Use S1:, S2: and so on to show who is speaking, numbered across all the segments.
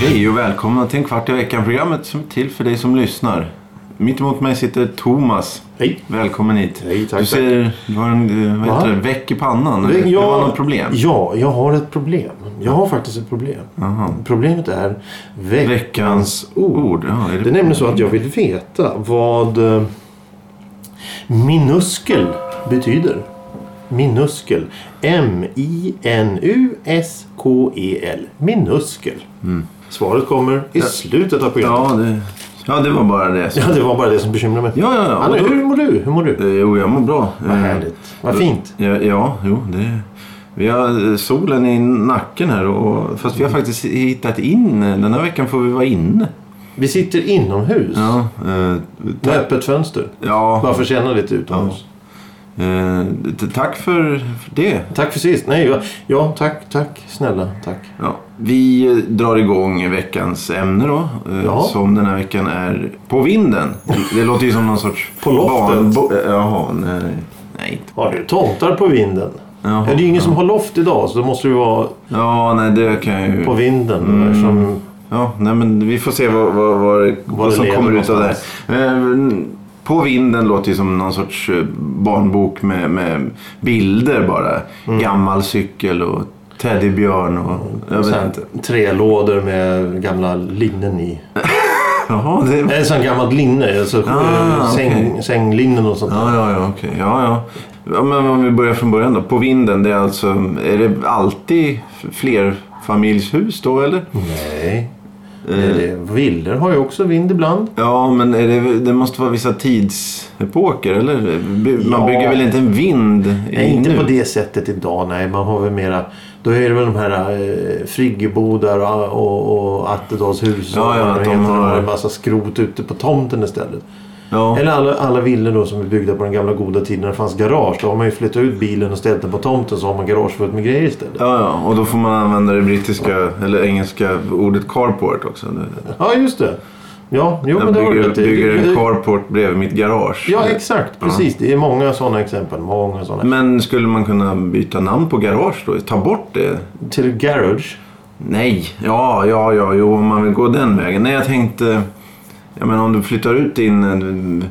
S1: Hej och välkomna till en kvart i veckan-programmet som är till för dig som lyssnar. Mitt emot mig sitter Thomas.
S2: Hej.
S1: Välkommen hit.
S2: Hej, tack,
S1: du ser, du har en eh, vad heter
S2: Va?
S1: det, väck i pannan. eller?
S2: Jag-
S1: Du har något problem.
S2: Ja, jag har ett problem. Jag har faktiskt ett problem. Problemet är veckans,
S1: Veckans
S2: ord.
S1: ord, ja, är det-
S2: det är nämligen så att jag vill veta vad eh, minuskel betyder. Minuskel. M-I-N-U-S-K-E-L. E Minuskel.
S1: Mm.
S2: Svaret kommer i slutet av programmet.
S1: Ja, det, ja, det var bara det.
S2: Ja, det var bara det som bekymrade mig.
S1: Ja, ja, ja.
S2: Anna,
S1: Och då-
S2: hur mår du? Hur mår du?
S1: Eh, Jo, jag mår bra.
S2: Vad
S1: Eh,
S2: härligt. Vad fint.
S1: Ja, ja jo. Det, vi har eh, solen i nacken här. Och, fast vi har faktiskt hittat in. eh, Den här veckan får vi vara inne.
S2: Vi sitter inomhus.
S1: Ja, eh,
S2: Med öppet fönster.
S1: ja
S2: Varför känna lite utomhus?
S1: eh, t- tack för, för det.
S2: Tack för sist. Nej, ja, ja, tack, tack. Snälla, tack.
S1: Ja, vi eh, drar igång veckans ämne då. eh,
S2: Ja.
S1: Som den här veckan är På vinden. Det låter ju som någon sorts...
S2: På loftet.
S1: barn- bo- eh, Jaha, nej. nej.
S2: Har du tomtar på vinden?
S1: Jaha,
S2: Ja, det är ju ingen som har loft idag så då måste du vara
S1: Ja, nej det kan jag ju...
S2: på vinden.
S1: Mm.
S2: Som,
S1: Ja, nej men vi får se vad, vad, vad, vad
S2: det
S1: som
S2: leder
S1: kommer ut av det
S2: någonstans.
S1: här. Eh, På vinden låter ju som någon sorts eh, barnbok med, med bilder bara.
S2: Mm.
S1: Gammal cykel och teddybjörn och... Jag
S2: så
S1: vet
S2: här,
S1: inte.
S2: tre lådor med gamla linnen i.
S1: Jaha, det...
S2: Eller sånt gammalt linne. Alltså,
S1: Ah,
S2: eh, säng,
S1: okej.
S2: Sänglinnen och sånt. där.
S1: Ja, ja, ja, okej. Ja, ja. ja, men om vi börjar från början då. På vinden, det är alltså... Är det alltid flerfamiljshus då eller?
S2: Mm. Nej.
S1: Eh.
S2: Det, det. Villor har ju också vind ibland.
S1: Ja, men är det, det måste vara vissa tidsepoker eller? By- Man
S2: Ja.
S1: bygger väl inte en vind i
S2: Nej, inte
S1: nu?
S2: på det sättet idag. Nej, man har väl mera... Då är det väl de här eh, friggebodar och, och, och Attedalshus. och
S1: Ja, ja,
S2: vad
S1: att de
S2: de heter. De
S1: har-
S2: har en massa skrot ute på tomten istället.
S1: Ja.
S2: Eller alla, alla villor då som är byggda på den gamla goda tiden när det fanns garage. Då har man ju flyttat ut bilen och ställt den på tomten så har man garage fullt med grejer istället.
S1: Ja, ja, och då får man använda det brittiska eller engelska ordet carport också. Det-
S2: Ja, just det. Ja, jo,
S1: Jag
S2: men det har du
S1: bygger,
S2: rätt i.
S1: bygger
S2: Det-
S1: en carport bredvid mitt garage.
S2: Ja, exakt. Precis. Det är många sådana exempel. Många sådana.
S1: Men skulle man kunna byta namn på garage då? Ta bort det?
S2: Till garage.
S1: Nej, ja, ja, ja, jo, om man vill gå den vägen. Nej, jag tänkte... Jag menar om du flyttar ut din... eh,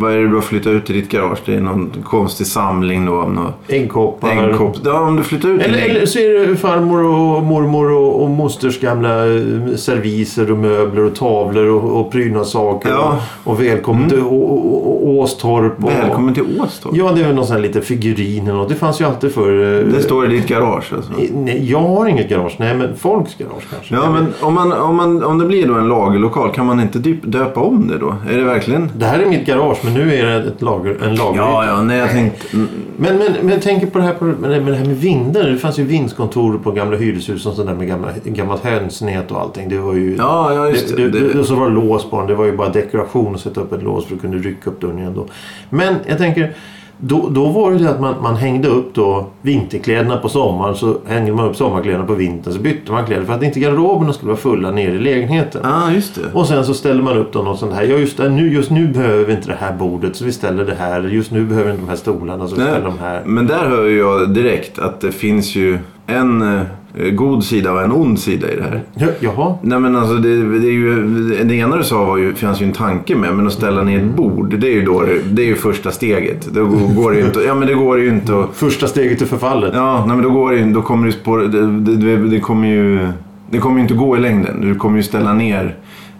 S1: Vad är det du har flyttat ut i ditt garage? Det är någon konstig samling då. Om någon,
S2: Äggkoppar.
S1: äggkopp. Ja, om du flyttar ut
S2: Eller,
S1: din ägg-
S2: eller så är det farmor och mormor och, och mosters gamla eh, serviser och möbler och tavlor och, och prydnadssaker.
S1: Ja. Mm.
S2: Och, och välkommen till Å- Å- Å- Åstorp. Och,
S1: Välkommen till Åstorp.
S2: Ja, det är väl någon sån här liten figurin eller något. Det fanns ju alltid förr. eh,
S1: Det står i ditt garage alltså.
S2: i- Nej, jag har inget garage. Nej, men folks garage kanske.
S1: Ja, men om, man, om, man, om det blir då en lagerlokal, kan man inte dyp, döpa om det då? Är det verkligen...
S2: Det här är mitt garage, men nu är det ett lager, en lager.
S1: Ja, ja, nej jag tänkte... mm,
S2: Men, men, men tänk på det här, på, men det men det här med vindar. Det fanns ju vindskontor på gamla hyreshus och sådär med gamla, gammalt hönsnät och allting. Det var ju...
S1: Ja, ja just
S2: det,
S1: det.
S2: det,
S1: det,
S2: och så var det lås på den. Det var ju bara dekoration att sätta upp ett lås för att kunde rycka upp dörren igen då. Men jag tänker, då, då var det ju att man, man hängde upp då vinterkläderna på sommaren så hängde man upp sommarkläderna på vintern så bytte man kläder för att inte garderoberna skulle vara fulla nere i lägenheten.
S1: ah, just det.
S2: Och sen så ställer man upp då något sånt här. Ja, just, det, nu, just nu behöver vi inte det här bordet så vi ställer det här. Just nu behöver vi inte de här stolarna så vi
S1: Nej,
S2: ställer de här.
S1: Men där hör ju jag direkt att det finns ju en eh, god sida och en ond sida i det här.
S2: Ja, Jaha.
S1: Nej men alltså det, det är ju, det ena du sa var ju, fanns ju en tanke med. Men att ställa ner ett bord, det är ju då det, det är ju första steget. Då går det ju inte, ja men det går ju inte att...
S2: Första steget till förfallet.
S1: Ja, nej, men då går det ju, då kommer du spår, det, det- det, det kommer ju, det kommer ju inte gå i längden. Du kommer ju ställa ner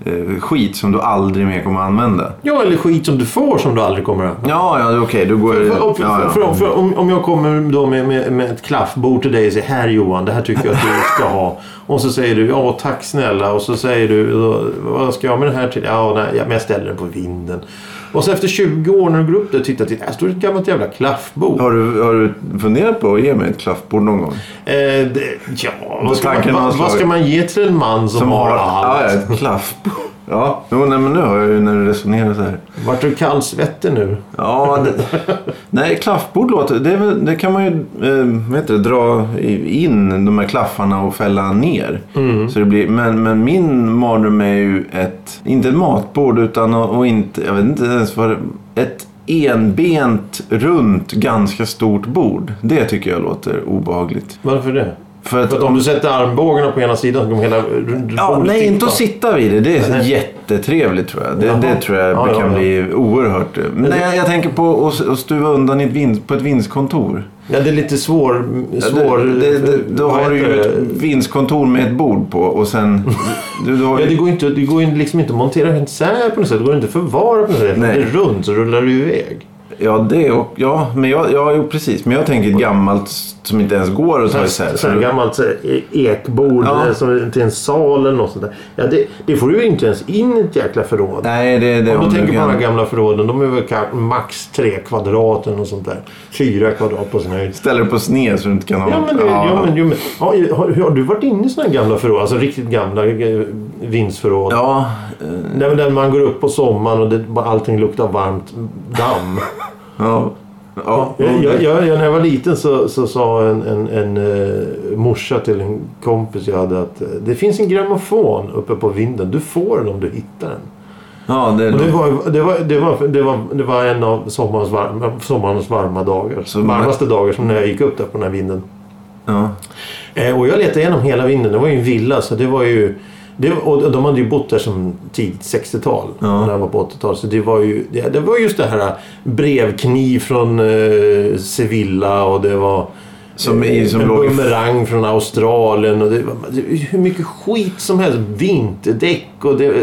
S1: eh, skit som du aldrig mer kommer att använda.
S2: Ja, eller skit som du får som du aldrig kommer att
S1: Ja, ja, det är okej. Då går det...
S2: För, för,
S1: ja, ja.
S2: för, för, för, om, om jag kommer då med, med, med ett klaffbord till dig och säger här Johan, det här tycker jag att du ska ha. Och så säger du ja tack snälla och så säger du "Då, vad ska jag med den här till? Ja, nej, ja, men jag ställer den på vinden. Och så efter 20 år när du går upp där och tittar till, här står det ett gammalt jävla klaffbord.
S1: Har, du, har du funderat på att ge mig ett klaffbord någon gång?
S2: Eh, det, ja, vad ska,
S1: tanken
S2: man,
S1: har
S2: vad, vad ska
S1: slagit.
S2: man ge till en man som, har
S1: Ja,
S2: allt?
S1: ja, ett klaffbord. Ja, jo, nej, men nu hör jag ju när du resonerar så här.
S2: Vart du kallsvettig nu?
S1: Ja, det, nej, klaffbord låter... Det, är väl- det kan man ju eh, vad heter det, dra i- in de här klaffarna och fälla ner.
S2: Mm.
S1: Så det blir, men, men min mardröm är ju ett... Inte ett matbord utan och, och inte... Jag vet inte ens vad det... Ett enbent, runt, ganska stort bord. Det tycker jag låter obehagligt.
S2: Varför det?
S1: För att
S2: För att om du sätter armbågarna på ena sidan så kommer hela
S1: Ja,
S2: bordet
S1: nej, inte att
S2: tippa.
S1: sitta vid det. Det är
S2: Nej.
S1: jättetrevligt tror jag.
S2: Jaha.
S1: Det, det tror jag
S2: Ja, ja,
S1: kan
S2: ja.
S1: bli oerhört. Men nej, jag tänker på att- att stuva undan i ett vin, på ett vinstkontor.
S2: Ja, det är lite svår... svår
S1: det, det, det, då
S2: vad
S1: har du
S2: heter
S1: ju
S2: det?
S1: ett vinstkontor med ett bord på och sen... Du, du har
S2: Ja, det
S1: ju,
S2: går ju inte, det går ju liksom inte att montera isär på något sätt. Det går inte att förvara på något sätt.
S1: Nej.
S2: Det är runt så rullar du iväg.
S1: ja, det och, ja, men jag, ja, jo, precis. Men jag tänker ett gammalt som inte ens går att ta isär. Så
S2: Sånt här
S1: du-
S2: gammalt så här, e- ekbord
S1: Ja.
S2: eh, som, till en sal eller något sånt där. Ja, det, det får du ju inte ens in i ett jäkla förråd.
S1: Nej, det är det.
S2: Om du tänker på
S1: kan-
S2: de här gamla förråden, de är väl ka- max tre kvadrat eller något sånt där. Fyra kvadrat på sin höjd.
S1: Ställer dig på sned så du inte kan ha...
S2: Ja, men, det, ja, men, jo, men ja, har, har du varit inne i såna här gamla förråd? Alltså riktigt gamla eh, vindsförråd?
S1: Ja, eh,
S2: Nej, men där man går upp på sommaren och det, bara allting luktar varmt damm.
S1: ja, ja,
S2: jag, jag, jag, när jag var liten så, så sa en, en, en eh, morsa till en kompis jag hade att eh, det finns en grammofon uppe på vinden. Du får den om du hittar den.
S1: ja, det är
S2: Och det, var, det, var, det, var, det, var, det var en av sommarens varma, sommarens varma dagar.
S1: Så-
S2: varmaste dagar som när jag gick upp där på den här vinden.
S1: Ja.
S2: Eh, och jag letade igenom hela vinden. Det var ju en villa så det var ju... Det, och de hade ju bott där som tidigt 60-tal. När jag var på 80-tal. Så det var ju det, det var just det här brevkniv från eh, Sevilla och det var... eh,
S1: Som, i, som
S2: en
S1: låg i
S2: bumerang från Australien och det, var- det, hur mycket skit som helst. Vinterdäck och det...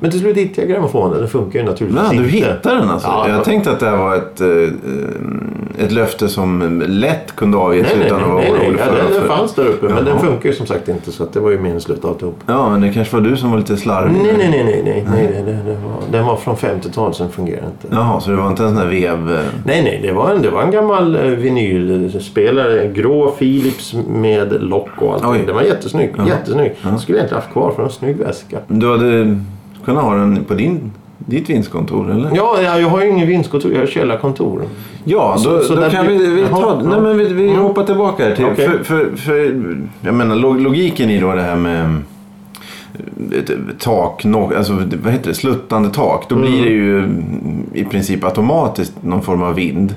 S2: Men till slut hittade jag grammofonen. Den funkar ju naturligtvis
S1: Ja, du
S2: inte.
S1: hittade den alltså?
S2: Ja,
S1: jag
S2: ja.
S1: tänkte att det här var ett, eh, ett löfte som lätt kunde avges
S2: Nej, nej,
S1: utan att vara
S2: nej, nej,
S1: orolig
S2: ja,
S1: för.
S2: den, den
S1: för-
S2: fanns där uppe. Men den
S1: Jaha.
S2: funkar ju som sagt inte så att det var ju meningslöst alltihop.
S1: Ja, men det kanske var du som var lite slarvig.
S2: Nej, nej, nej, nej, nej, nej, nej, nej. Den, var, den var från 50-talet, sen fungerar inte.
S1: Jaha, så det var inte en sån här vev... eh,
S2: Nej, nej, det var en, det var en gammal eh, vinylspelare. En grå Philips med lock och allting.
S1: Oj.
S2: Den var jättesnygg. jättesnygg. Skulle jag inte haft kvar för en snygg väska.
S1: Du hade kunnat ha den på din, ditt vinstkontor, eller?
S2: Ja, ja, jag har ju ingen vindskontor, jag har källarkontor.
S1: Ja, då,
S2: så
S1: då
S2: där
S1: kan
S2: blir-
S1: vi, vi
S2: Jaha,
S1: ta...
S2: ja.
S1: Nej, men vi, vi hoppar tillbaka här till...
S2: Okej.
S1: För, för, för, jag menar, log- logiken i då det här med eh, ett tak, no, alltså, vad heter det, sluttande tak. Då blir det ju mm, i princip automatiskt någon form av vind.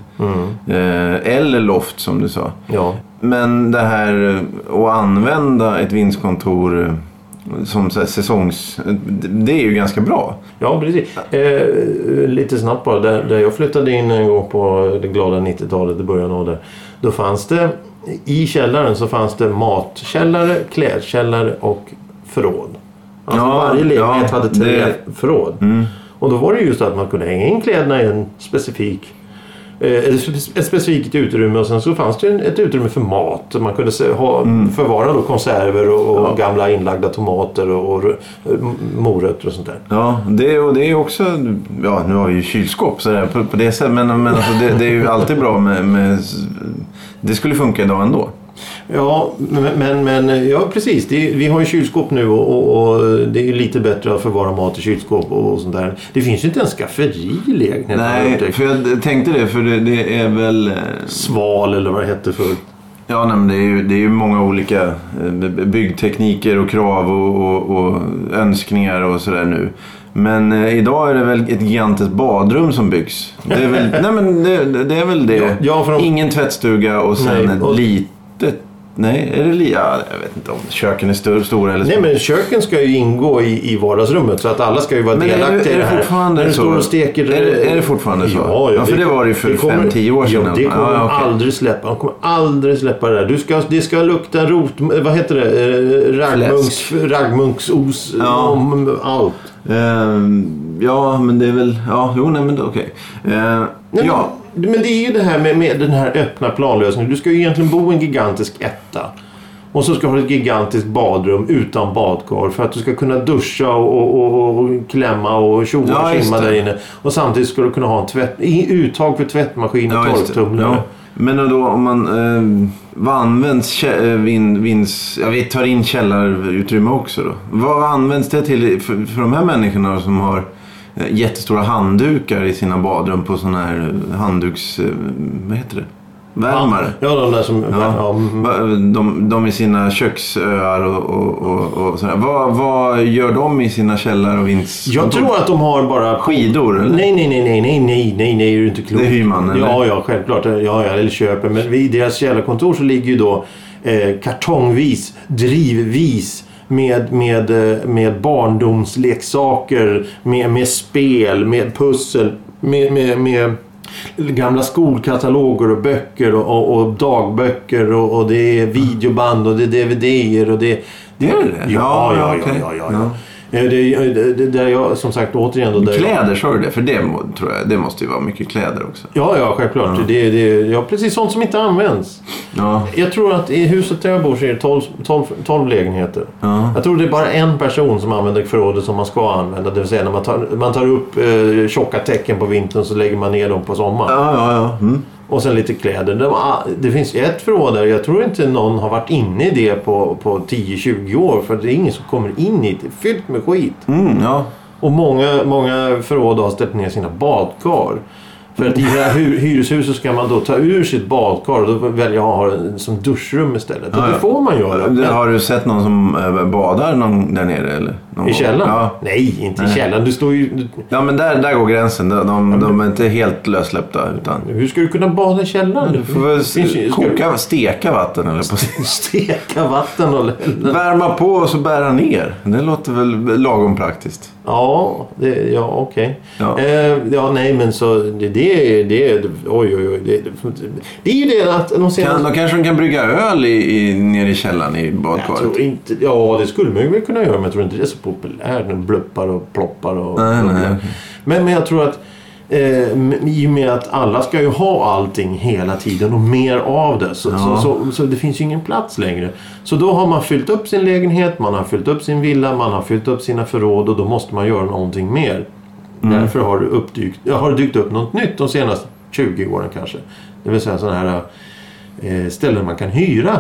S1: Eh, eller loft som du sa.
S2: Mm, Ja.
S1: Men det här eh, att använda ett vindskontor eh, som så här, säsongs... det- Det är ju ganska bra.
S2: Ja, precis. Eh, lite snabbt bara. Där, där jag flyttade in en gång på det glada 90-talet, i början av det. Då fanns det, i källaren så fanns det matkällare, klädkällare och förråd. Alltså
S1: Ja,
S2: varje lägenhet
S1: ja,
S2: hade tre
S1: det- Mm.
S2: förråd. Och då var det just att man kunde hänga in kläderna i en specifik eh, ett spe- ett specifikt utrymme och sen så fanns det ju en- ett utrymme för mat. Man kunde se- ha,
S1: Mm.
S2: förvara då konserver och, och gamla inlagda tomater och, och eh, morötter och sånt där.
S1: Ja, det, och det är också... Ja, nu har vi ju kylskåp så där, på, på det sättet. Men, men alltså, det, det är ju alltid bra med, med... Det skulle funka idag ändå.
S2: Ja, men, men, men ja, precis. Det, är- vi har ju kylskåp nu och, och, och det är ju lite bättre att förvara mat i kylskåp och, sånt där. Det finns ju inte ens skafferi i lägenheten. har jag
S1: Nej,
S2: upptäckt.
S1: för jag tänkte det. För det, det är väl... eh,
S2: Sval eller vad det hette förr.
S1: Ja, nej, men det är ju, det är ju många olika eh, by- byggtekniker och krav och, och, och önskningar och sådär nu. Men eh, idag är det väl ett gigantiskt badrum som byggs. Det är väl, nej, men det, det det är väl det.
S2: Ja, ja, för de-
S1: Ingen tvättstuga och sen
S2: Nej, och-
S1: ett litet... Nej, är det li... ja, Jag vet inte om köken är stör, stora eller
S2: Nej, men köken ska ju ingå i, i vardagsrummet så att alla ska ju vara
S1: Men är
S2: delaktiga
S1: det,
S2: i
S1: är
S2: det
S1: det
S2: här.
S1: fortfarande
S2: När du
S1: så?
S2: står och steker...
S1: Är det, är det fortfarande så?
S2: Ja,
S1: för det var det ju för
S2: det kommer-
S1: 5-10 år sedan.
S2: Ja, det kommer
S1: Ja,
S2: de
S1: okej.
S2: aldrig släppa. De kommer aldrig släppa det där. Du ska, det ska lukta rot... Vad heter det? Eh, Raggmunks,
S1: Fläsk.
S2: raggmunksos
S1: Ja.
S2: om allt.
S1: Ehm, ja, men det är väl... Ja, jo, nej, men det- okej. Ehm,
S2: Nej,
S1: ja.
S2: men, men det är ju det här med, med den här öppna planlösningen. Du ska ju egentligen bo i en gigantisk etta. Och så ska du ha ett gigantiskt badrum utan badkar för att du ska kunna duscha och, och, och, och klämma och tjoa
S1: Ja,
S2: och
S1: just
S2: tjimma
S1: det.
S2: där inne. Och samtidigt ska du kunna ha en tvätt, i- uttag för tvättmaskin och
S1: Ja, just det.
S2: torktumlare.
S1: Ja. Men då om man... Eh, vad används kä- eh, vin, vins... Ja, vi tar in källarutrymme också då. Vad används det till för, för de här människorna som har eh, jättestora handdukar i sina badrum på sådana här eh, handduks... Eh, vad heter det? Värmare.
S2: Ja, de där som... Ja.
S1: Ja.
S2: mm.
S1: Va- eh, De, de i sina köksöar och, och, och, och sådär. Vad, vad gör de i sina källar och vinds...
S2: Jag tror att de har bara...
S1: Skidor eller?
S2: Nej, nej, nej, nej, nej, nej, nej, nej, är du inte klok?
S1: Det hyr man, eller?
S2: Ja, ja, självklart. Ja, ja, eller köper. Men vid deras källarkontor så ligger ju då eh, kartongvis, drivvis med, med, eh, med barndomsleksaker, med, med spel, med pussel, med, med, med gamla skolkataloger och böcker och, och, och dagböcker och, och det är videoband och det är DVDer och det,
S1: Det är det?
S2: Ja, ja, ja, ja,
S1: okej.
S2: ja, ja. Eh, Det, är- det, det där jag som sagt återigen då... Där jag-
S1: Kläder, sa du det? För det må- tror jag, det måste ju vara mycket kläder också.
S2: Ja, ja, självklart. Det, det, ja, precis sånt som inte används.
S1: Ja.
S2: Jag tror att i huset där jag bor så är det 12, 12, 12 lägenheter.
S1: Ja.
S2: Jag tror det är bara en person som använder förrådet som man ska använda. Det vill säga när man tar, man tar upp eh, tjocka täcken på vintern så lägger man ner dem på sommaren.
S1: Ja, ja, ja. Mm.
S2: Och sen lite kläder. De, ah, det finns ett förråd där. Jag tror inte någon har varit inne i det på, på 10-20 år. För det är ingen som kommer in i det. Det är fyllt med skit.
S1: Mm, ja.
S2: Och många, många förråd har ställt ner sina badkar. För att i det här hy- hyreshuset ska man då ta ur sitt badkar och då väljer jag att ha det som duschrum istället. Och
S1: Ja, ja.
S2: det får man göra.
S1: Det-
S2: Men
S1: Har du sett någon som eh, badar någon där nere? Eller? Någon
S2: I källaren?
S1: Ja.
S2: Nej, inte i källaren. Du står ju... du-
S1: ja, men där, där går gränsen. De, de, de är inte helt lössläppta. Utan...
S2: Hur ska du kunna bada i källaren?
S1: Du får väl
S2: Finns ju-
S1: s-
S2: ska du
S1: koka, steka vatten eller på
S2: Steka vatten och...
S1: Värma på och så bära ner. Det låter väl lagom praktiskt.
S2: Ja, det, ja okej.
S1: Ja.
S2: Eh, ja, nej men så det, det är... Det, är- oj, oj, oj. Det, det är ju det att de senaste...
S1: Kan, då kanske de kan brygga öl i, i, nere i källaren i
S2: Jag
S1: badkaret.
S2: tror inte, ja, det skulle man ju väl kunna göra, men jag tror inte det är så populärt. Den bluppar och ploppar och...
S1: Nej,
S2: bubblar.
S1: nej.
S2: Men, men jag tror att eh, i och med att alla ska ju ha allting hela tiden och mer av det. Så, så, så, så det finns ju ingen plats längre. Så då har man fyllt upp sin lägenhet, man har fyllt upp sin villa, man har fyllt upp sina förråd och då måste man göra någonting mer.
S1: Mm.
S2: Därför har det, uppdykt, ja, har det dykt upp något nytt de senaste 20 åren kanske. Det vill säga sådana här eh, ställen man kan hyra.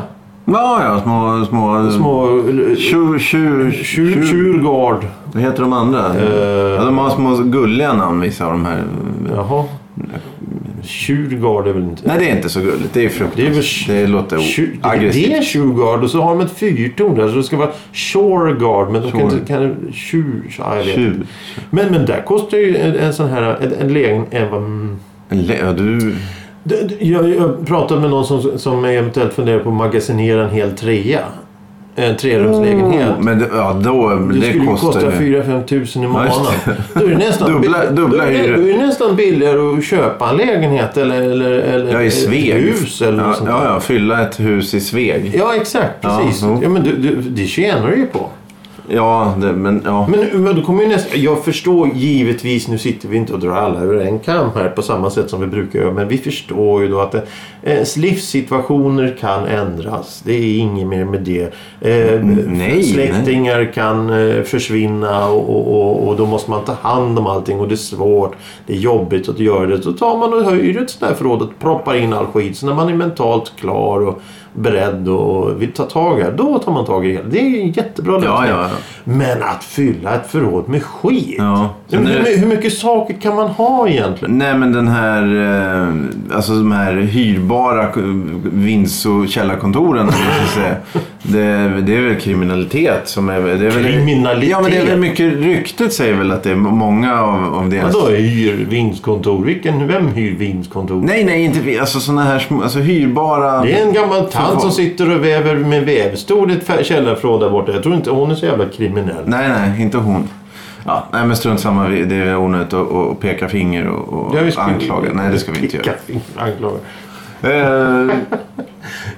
S1: Ja, ja. Små... små,
S2: Små
S1: Mm.
S2: eh,
S1: Tjur, tjur,
S2: Tjur, Tjurgård.
S1: Vad heter de andra?
S2: Eh.
S1: ja, de har små gulliga namn vissa av de här.
S2: Jaha. Tjurgård är väl inte...
S1: Nej, det är inte så gulligt. Det är
S2: Det är väl
S1: fruktansvärt.
S2: tj-
S1: Det, låter o-
S2: Tjur, det,
S1: aggressivt.
S2: det är Tjurgård och så har de ett fyrtorn där så det ska vara Shoreguard. Men de kan
S1: Shore.
S2: inte... Kan, tjur, ja, jag vet.
S1: Tjur.
S2: Men, men där kostar ju en, en sån här... En, en lägenhet... en-
S1: Le- Ja, du...
S2: Det- det- Jag, jag pratade med någon som, som eventuellt funderar på att magasinera en hel trea. En trerumslägenhet.
S1: Men det, ja, då,
S2: Det,
S1: det
S2: skulle ju
S1: kostar
S2: kosta
S1: ju...
S2: 4-5 tusen i månaden.
S1: just
S2: Då är det nästan,
S1: Dubbla-
S2: bill-
S1: dubbla
S2: då är det,
S1: hyror.
S2: då är det nästan billigare att köpa en lägenhet eller, eller, eller
S1: Ja, i Sveg.
S2: ett hus. Eller något
S1: ja,
S2: sånt där.
S1: ja, ja, fylla ett hus i Sveg.
S2: ja, exakt.
S1: Ja,
S2: Precis.
S1: jo.
S2: Ja, men du, du, det tjänar du ju på.
S1: Ja, det, men ja.
S2: Men, men då kommer ju nästa, jag förstår givetvis, nu sitter vi inte och drar alla över en kam här på samma sätt som vi brukar göra. Men vi förstår ju då att eh, ens livssituationer kan ändras. Det är inget mer med det. Eh,
S1: nej,
S2: släktingar kan eh, försvinna och, och, och, och då måste man ta hand om allting och det är svårt. Det är jobbigt att göra det. Så tar man och höjer ett sånt här förråd och proppar in all skit. Så när man är mentalt klar och beredd och vill ta tag i det, då tar man tag i det. Det är en jättebra lösning.
S1: ja, ja.
S2: Men att fylla ett förråd med skit.
S1: Ja.
S2: Men
S1: Sen är
S2: hur,
S1: det-
S2: hur mycket saker kan man ha egentligen?
S1: Nej men den här, eh, alltså de här hyrbara eh, vinds och källarkontoren. om man ska säga. Det, det är väl kriminalitet som är... Det är väl,
S2: Kriminalitet?
S1: Ja men det är väl mycket, ryktet säger väl att det är många av, av deras...
S2: Vadå hyr vindskontor? Vilken, vem hyr vindskontor?
S1: Nej nej, inte vi. Alltså sådana här små, alltså hyrbara...
S2: Det är en gammal tant
S1: fan.
S2: som sitter och väver med vävstol i ett fär- källarförråd där borta. Jag tror inte hon är så jävla kriminell.
S1: Nej nej, inte hon. Ja, nej men strunt samma, vi- det är onödigt att, att peka finger och, och
S2: Ja, vi ska-
S1: anklaga. Nej det ska vi inte göra.
S2: Picka fingrar, Anklaga.
S1: Eh,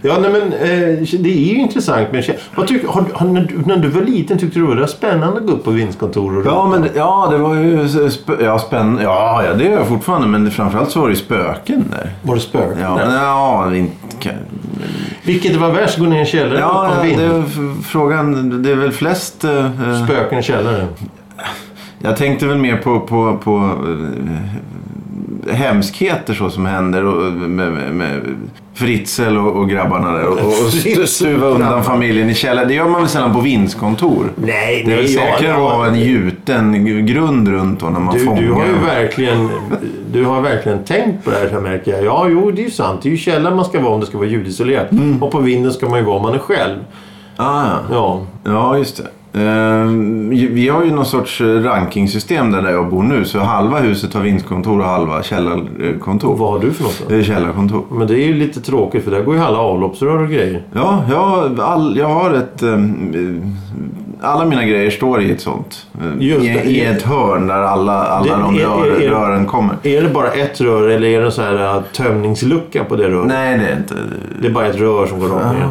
S2: Ja, nej, men eh, det är ju intressant. Men, vad tycker, har, har, när, du, när du var liten tyckte du det var spännande att gå upp på vindskontor? Och
S1: Ja, men ja, det var ju spö- ja, spännande. Ja, ja, det gör jag fortfarande. Men det, framförallt så var det ju spöken där.
S2: Var det spöken?
S1: Ja,
S2: där?
S1: men, ja, inte, kan-
S2: Vilket var värst? Gå ner i en källare eller upp
S1: ja
S2: på en
S1: det
S2: vind?
S1: är f- frågan. Det är väl flest... eh, eh,
S2: Spöken i källaren.
S1: jag tänkte väl mer på... på, på eh, hemskheter så som händer och, med, med, med Fritzl och, och grabbarna där. Och, och stu- stuva undan familjen i källaren. Det gör man väl sällan på vindskontor?
S2: Nej,
S1: Det är väl
S2: nej, jag-
S1: säkrare att ha en gjuten grund runt honom när man
S2: Du,
S1: fångar
S2: du har ju
S1: den.
S2: verkligen, du har verkligen tänkt på det här så märker jag. Ja, jo, det är ju sant. Det är ju källaren man ska vara om det ska vara ljudisolerat.
S1: Mm.
S2: Och på vinden ska man ju vara om man är själv.
S1: ah, ja.
S2: Ja,
S1: Ja, just det. Ehm, vi har ju någon sorts eh, rankingsystem där jag bor nu. Så halva huset har vindskontor och halva
S2: och
S1: källarkontor.
S2: vad har du för något då?
S1: Det är källarkontor.
S2: Men det är ju lite tråkigt för där går ju alla avloppsrör och grejer.
S1: Ja, jag, har all, jag har ett... ehm, eh, alla mina grejer står i ett sånt. eh,
S2: Just
S1: i,
S2: det.
S1: I ett hörn där alla, alla
S2: Det-
S1: de
S2: är-
S1: rör,
S2: är- är-
S1: rören kommer.
S2: Är det bara ett rör eller är det en sån här äh, tömningslucka på det röret?
S1: Nej, det är inte...
S2: Det är bara ett rör som går rakt ner.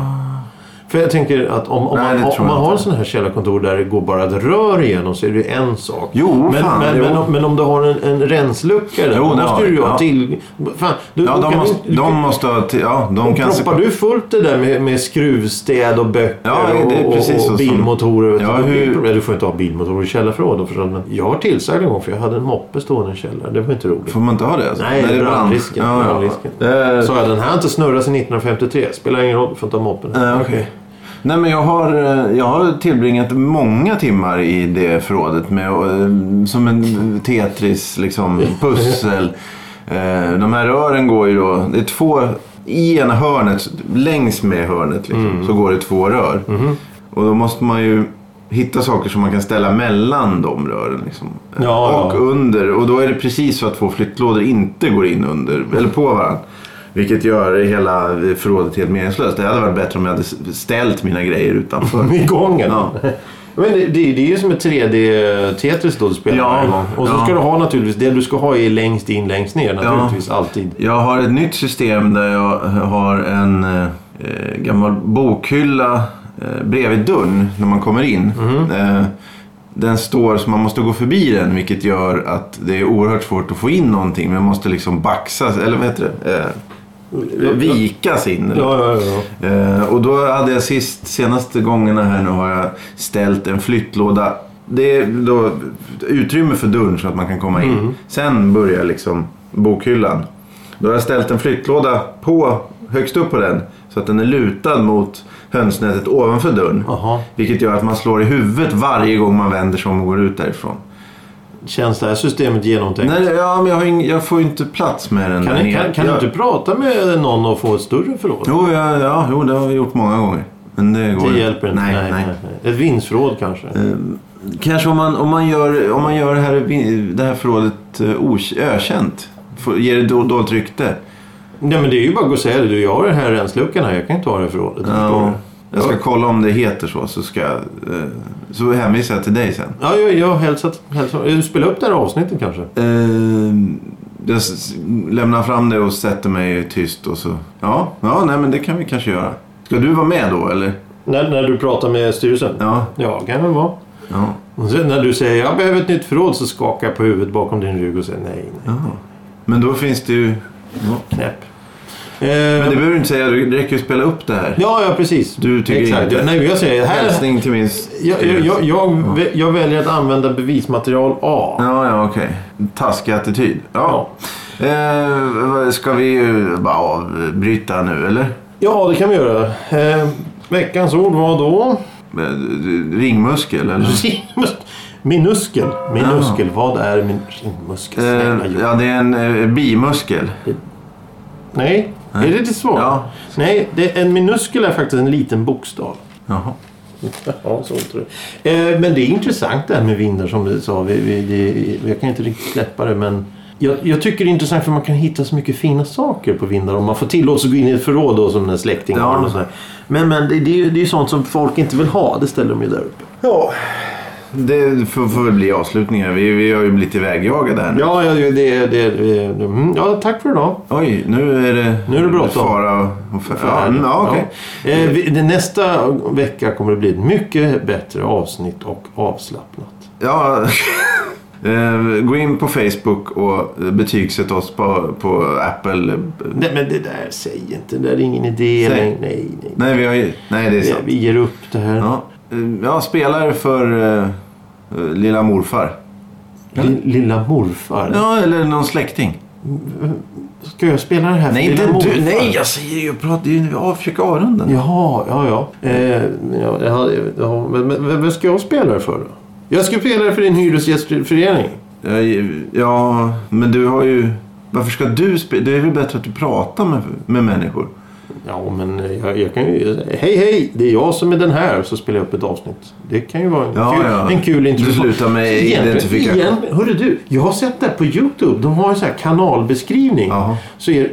S2: För jag tänker att om, om
S1: Ah. Nej, det tror
S2: man,
S1: jag
S2: om man
S1: inte.
S2: har en sån här källarkontor där det går bara ett rör igenom så är det ju en sak.
S1: Jo,
S2: men,
S1: fan,
S2: men,
S1: jo.
S2: men, om, men om du har en, en renslucka där,
S1: Jo,
S2: då
S1: det
S2: måste
S1: har
S2: du ju
S1: vi,
S2: ha
S1: ja.
S2: till... Fan, du,
S1: Ja,
S2: då
S1: de
S2: kan
S1: måste,
S2: du,
S1: de måste ha... till- Ja, de kan...
S2: Proppar du fullt det där med, med skruvstäd och böcker
S1: Ja, det är
S2: och,
S1: precis
S2: och,
S1: så
S2: och
S1: som-
S2: bilmotorer? vet du,
S1: Ja,
S2: då blir det
S1: hur-
S2: problem. Du får inte ha bilmotorer i källarförråd då förstås. Men jag har tillsagd en gång för jag hade en moppe stående i källaren. Det var inte roligt.
S1: Får man inte ha det? Alltså?
S2: Nej,
S1: det är brand.
S2: brandrisken.
S1: Ja, ja.
S2: brandrisken.
S1: Eh,
S2: Sa jag den här har inte snurrat sedan 1953. Spelar ingen roll, du får inte ha moppen.
S1: Eh, Okej. Nej, men jag har, eh, jag har tillbringat många timmar i det förrådet med, eh, som en Tetris, liksom, pussel. Eh, De här rören går ju då... Det är två... I ena hörnet, längs med hörnet, liksom,
S2: Mm.
S1: så går det två rör.
S2: Mhm.
S1: Och då måste man ju hitta saker som man kan ställa mellan de rören. Liksom.
S2: Ja,
S1: och
S2: ja.
S1: under. Och då är det precis så att två flyttlådor inte går in under, eller på varandra. Vilket gör hela förrådet helt meningslöst. Det hade varit bättre om jag hade ställt mina grejer utanför.
S2: I gången.
S1: Ja.
S2: Men det, det, det är ju som ett 3D-Tetris då du spelar
S1: Ja,
S2: varje gång. Och så
S1: ja.
S2: ska du ha naturligtvis, det du ska ha är längst in, längst ner naturligtvis alltid.
S1: Jag har ett nytt system där jag har en eh, eh, gammal bokhylla eh, bredvid dörren när man kommer in. Eh, den står så man måste gå förbi den vilket gör att det är oerhört svårt att få in någonting. Man måste liksom baxas, eller vad heter det? Eh, vikas in. eller?
S2: Ja, ja, ja.
S1: Eh, och då hade jag sist, senaste gångerna här nu har jag ställt en flyttlåda. Det är då utrymme för dörren så att man kan komma in.
S2: Mm.
S1: Sen börjar liksom bokhyllan. Då har jag ställt en flyttlåda på, högst upp på den. Så att den är lutad mot hönsnätet ovanför dörren.
S2: Jaha.
S1: Vilket gör att man slår i huvudet varje gång man vänder sig om och går ut därifrån.
S2: Känns det här systemet genomtänkt?
S1: Nej, ja, men jag, har ing, jag får ju inte plats med den där
S2: Kan,
S1: nere.
S2: kan, kan du
S1: Jag-
S2: inte prata med någon och få ett större förråd?
S1: Jo, ja, ja, jo, det har vi gjort många gånger. Men det går
S2: Det hjälper inte.
S1: Nej, nej. Eh.
S2: Ett vindsförråd kanske?
S1: Kanske om man, om man gör, om man gör det, här, det här förrådet eh, ok- ökänt. Får- Ger det då, dåligt rykte.
S2: Nej men det är ju bara att gå och säga det. Du, jag har den här rensluckan här. Jag kan inte ha det här förrådet. förstår du?
S1: Ja, jag ska kolla om det heter så. Så, ska, jag, eh, så hänvisar jag till dig sen.
S2: Ja, jag, jag har hälsat, hälsat. Spela upp det här avsnittet kanske.
S1: Eh, Jag s- lämnar fram det och sätter mig tyst och så. Ja, ja nej, men det kan vi kanske göra. Ska du vara med då eller?
S2: När, när du pratar med styrelsen?
S1: Ja.
S2: Ja, kan det väl vara.
S1: ja.
S2: Och sen när du säger jag behöver ett nytt förråd så skakar jag på huvudet bakom din rygg och säger nej, nej,
S1: Men då finns det ju... Ja.
S2: knäpp.
S1: Men
S2: Eh,
S1: det behöver du inte säga. Det räcker ju att spela upp det här.
S2: ja, ja, precis.
S1: Du tycker
S2: Exakt.
S1: inte.
S2: Ja, nej, jag säger här.
S1: Hälsning till min...
S2: Jag, jag, jag, jag, vä- jag väljer att använda bevismaterial A.
S1: Ja, ja, okej. Taskig attityd. Ja. Eh, ska vi eh, bara avbryta nu, eller?
S2: Ja, det kan vi göra. Eh, veckans ord var då?
S1: Eh, Ringmuskel, eller?
S2: Minuskel. Minuskel. Vad är min ringmuskel? Snälla,
S1: Eh, ja, det är en eh, bimuskel.
S2: Nej. Är det ditt svar?
S1: Ja.
S2: Nej, det, en minuskel är faktiskt en liten bokstav.
S1: Jaha.
S2: Ja, så tror jag. Eh, men det är intressant det här med vinden som du sa. Vi, vi, det, jag kan inte riktigt släppa det men jag, jag tycker det är intressant för man kan hitta så mycket fina saker på vindar om man får tillåtelse att gå in i ett förråd då, som den här släktingen
S1: Ja.
S2: har. Och så här. men men det, det, är ju, det är ju sånt som folk inte vill ha. Det ställer de ju där uppe.
S1: Ja. Det får, får väl bli avslutningar. Vi, vi har ju blivit ivägjagade här nu.
S2: Ja, ja, det, det, det, det, mm, ja tack för idag.
S1: Oj, nu är det...
S2: Nu är det bråttom.
S1: Fara och- och... Fara. Ja, mm, ja, okej.
S2: Ja. Eh, vi- det- Nästa vecka kommer det bli ett mycket bättre avsnitt och avslappnat.
S1: Ja. Eh, Gå in på Facebook och eh, betygsätt oss på, på Apple.
S2: Nej, men det där, säg inte. Det där är ingen idé.
S1: Säg.
S2: Nej, nej, nej.
S1: Nej, vi har ju... Nej, det är sant.
S2: Vi ger upp det här.
S1: Ja, eh, ja spelare för eh, eh, lilla morfar.
S2: Li- Lilla morfar.
S1: Ja, eller någon släkting.
S2: Ska jag spela den här
S1: Nej,
S2: för
S1: inte
S2: dina
S1: du.
S2: morfar?
S1: Nej, jag säger ju. Jag pratar ju. Vi avförsöker arunden.
S2: Jaha, ja, ja. Eh, ja, ja, ja men, men men vem ska jag spela det för då? Jag ska spela det för din hyresgästförening.
S1: Ja, ja, men du har ju... Varför ska du spela? Det är väl bättre att du pratar med, med människor?
S2: Ja, men eh, jag, jag kan ju... Hej, hej! Det är jag som är den här. Så spelar jag upp ett avsnitt. Det kan ju vara en
S1: Ja,
S2: kul,
S1: ja.
S2: En kul
S1: Du
S2: introduktion.
S1: slutar med
S2: Så egentligen-
S1: identifikation.
S2: egentligen- Hörru du, jag har sett det här på YouTube. De har ju så här kanalbeskrivning.
S1: Jaha.
S2: Så är ja,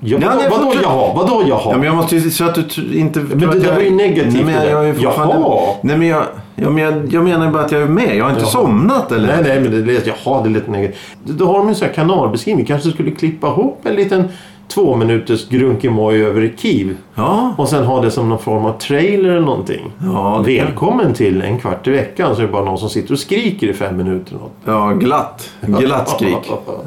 S1: Ja, nej,
S2: vad, vadå
S1: fortsätt.
S2: jaha? Vadå jaha?
S1: Ja, men jag måste ju så att du t- inte... Men
S2: det där var ju negativt,
S1: Nej, men jag,
S2: det där.
S1: jag är fortfarande...
S2: Jaha.
S1: Nej, men jag, jag, men, jag menar ju bara att jag är med. Jag har inte
S2: Jaha.
S1: somnat eller?
S2: Nej, nej, men det lät, jaha, det lät negativt. Då har de en sån här kanalbeskrivning. Kanske skulle klippa ihop en liten två minuters grunkemoj över Kiev.
S1: Ja.
S2: Och sen ha det som någon form av trailer eller någonting.
S1: Ja, det-
S2: Välkommen till en kvart i veckan så är det bara någon som sitter och skriker i fem minuter. eller något.
S1: ja, glatt. Glatt skrik.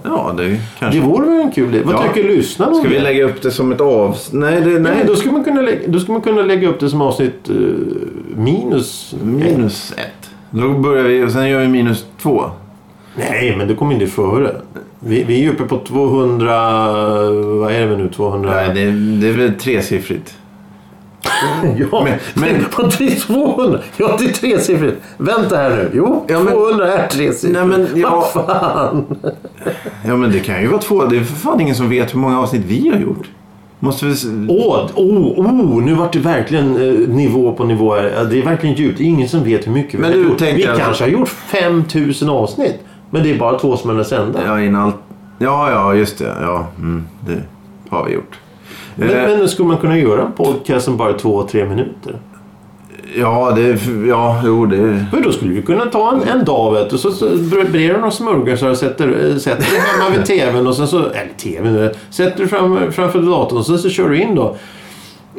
S1: Ja, det
S2: Det
S1: kanske...
S2: vore väl en kul idé. Vad
S1: Ja.
S2: tycker lyssnarna om
S1: Ska vi
S2: det?
S1: lägga upp det som ett avs... Nej, det,
S2: Nej,
S1: nej.
S2: då skulle, man kunna lägga, då skulle man kunna lägga upp det som avsnitt eh, minus...
S1: Minus ett. Då börjar vi och sen gör vi minus två.
S2: Nej, men det kommer inte före. Vi, vi är ju uppe på 200... Vad är det nu? 200...
S1: Nej, det, det är väl tresiffrigt.
S2: Ja, men,
S1: Men- men-
S2: på 200. Ja, det är tresiffrigt. Vänta här nu. Jo,
S1: Ja, men-
S2: 200 är tresiffrigt.
S1: Nej, men ja... Ja, men det kan ju vara två. Det är för fan ingen som vet hur många avsnitt vi har gjort. Måste vi... s-
S2: Åh, oh, oh, nu vart det verkligen eh, nivå på nivå. här. Ja, Det är verkligen djupt. Det är ingen som vet hur mycket
S1: Men
S2: vi
S1: du
S2: har gjort.
S1: tänker
S2: Vi
S1: alltså-
S2: kanske har gjort 5000 avsnitt. Men det är bara två som är sända.
S1: Ja, in allt... Ja, ja, just det. Ja, mm, det har vi gjort. eh,
S2: Men, men skulle man kunna göra en podcast som bara är två, tre minuter?
S1: Ja, det... Ja, jo, det...
S2: Men då skulle vi kunna ta en, en dag vet du, så, så brer du några smörgåsar och sätter, eh, sätter dig hemma vid tvn och sen så, eller tvn, eh, sätter du fram, framför datorn och sen så kör du in då.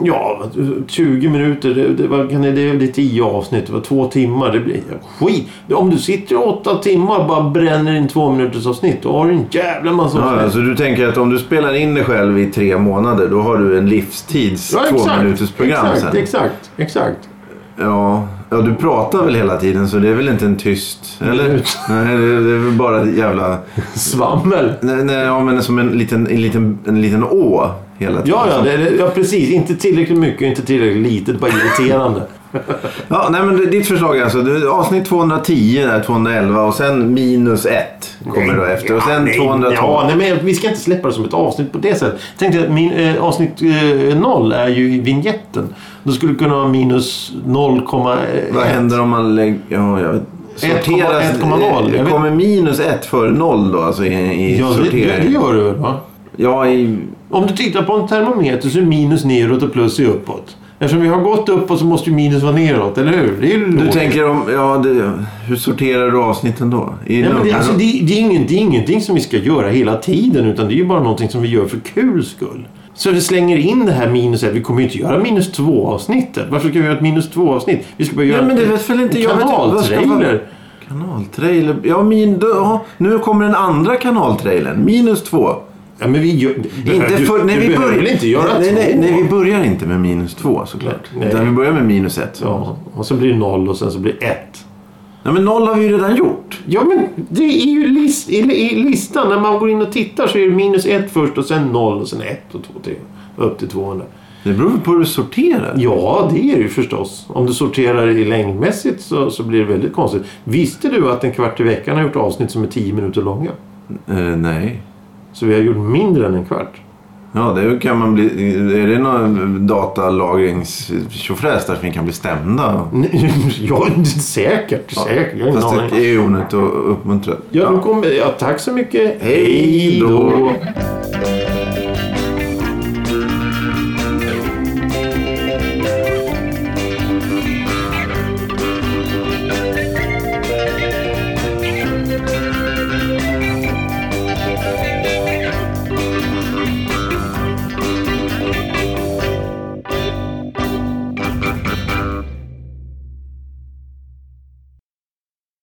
S2: Ja, 20 minuter, det, det, vad kan det, det blir 10 avsnitt, det var två timmar, det blir skit. Om du sitter i åtta timmar och bara bränner in två minuters avsnitt då har du en jävla massa
S1: Ja,
S2: avsnitt.
S1: alltså du tänker att om du spelar in dig själv i tre månader då har du en livstids
S2: Ja,
S1: två
S2: exakt,
S1: minuters program
S2: exakt,
S1: sen.
S2: Exakt, exakt.
S1: Ja. ja, du pratar väl hela tiden så det är väl inte en tyst... Eller? Nej, det det är väl bara jävla...
S2: Svammel.
S1: Nej, nej, ja, men som en liten, en liten, en liten å hela tiden.
S2: Ja, ja, det, det- ja, precis. Inte tillräckligt mycket, inte tillräckligt litet, bara irriterande.
S1: Ja, nej, men det- ditt förslag är alltså det- avsnitt 210, där, 211 och sen minus 1 kommer då efter. Och sen
S2: nej,
S1: 212.
S2: Ja, nej, men vi ska inte släppa det som ett avsnitt på det sättet. Tänk dig att min, eh, avsnitt eh, noll är ju vignetten. Då skulle du kunna ha minus eh, 0,
S1: Vad händer om man lägger... Ja, jag vet. Eh,
S2: 1,0, jag vet.
S1: Kommer minus 1 före 0 då alltså i, i
S2: Ja, det, det, det
S1: sortering?
S2: gör du väl? Va?
S1: Ja, i,
S2: Om du tittar på en termometer så är minus neråt och plus är uppåt. Eftersom vi har gått uppåt så måste ju minus vara neråt, eller hur? Det är ju
S1: du
S2: logiskt.
S1: tänker om... Ja, det, hur sorterar du avsnitten då? I
S2: Nej, men det,
S1: nummer?
S2: alltså, det, det, är ingen, det är ingenting som vi ska göra hela tiden utan det är ju bara någonting som vi gör för kul skull. Så vi slänger in det här minuset. Vi kommer ju inte göra minus två avsnittet. Varför ska vi göra ett minus två avsnitt? Vi ska bara göra
S1: Nej, men det vet väl inte
S2: en
S1: jag. Vet inte, vad ska vara-
S2: kanaltrailer.
S1: Kanaltrailer. Ja, min, då, ja, nu kommer den andra kanaltrailern. Minus 2.
S2: Ja, men vi gör...
S1: Inte
S2: du,
S1: för, nej,
S2: du
S1: vi
S2: behöver
S1: börjar,
S2: väl inte göra
S1: nej,
S2: två?
S1: nej, nej, vi börjar inte med minus två såklart.
S2: Nej.
S1: Utan vi börjar med minus ett.
S2: Ja, och sen blir det noll och sen så blir det ett.
S1: Nej, men noll har vi ju redan gjort.
S2: Ja, men det är ju list, i, i listan. När man går in och tittar så är det minus ett först och sen noll och sen ett och två till. Upp till 200.
S1: Det beror på hur du sorterar.
S2: Ja, det är det ju förstås. Om du sorterar i längdmässigt så, så blir det väldigt konstigt. Visste du att en kvart i veckan har gjort avsnitt som är 10 minuter långa?
S1: Eh, nej.
S2: Så vi har gjort mindre än en kvart.
S1: Ja, det kan man bli... Är det någon datalagringstjofräs där som vi kan bli stämda?
S2: ja, säkert. Säkert. Jag har ingen
S1: Fast det
S2: aning.
S1: är ju onödigt att uppmuntra.
S2: Ja, då kommer, ja, tack så mycket.
S1: Hej då.
S2: Hej då.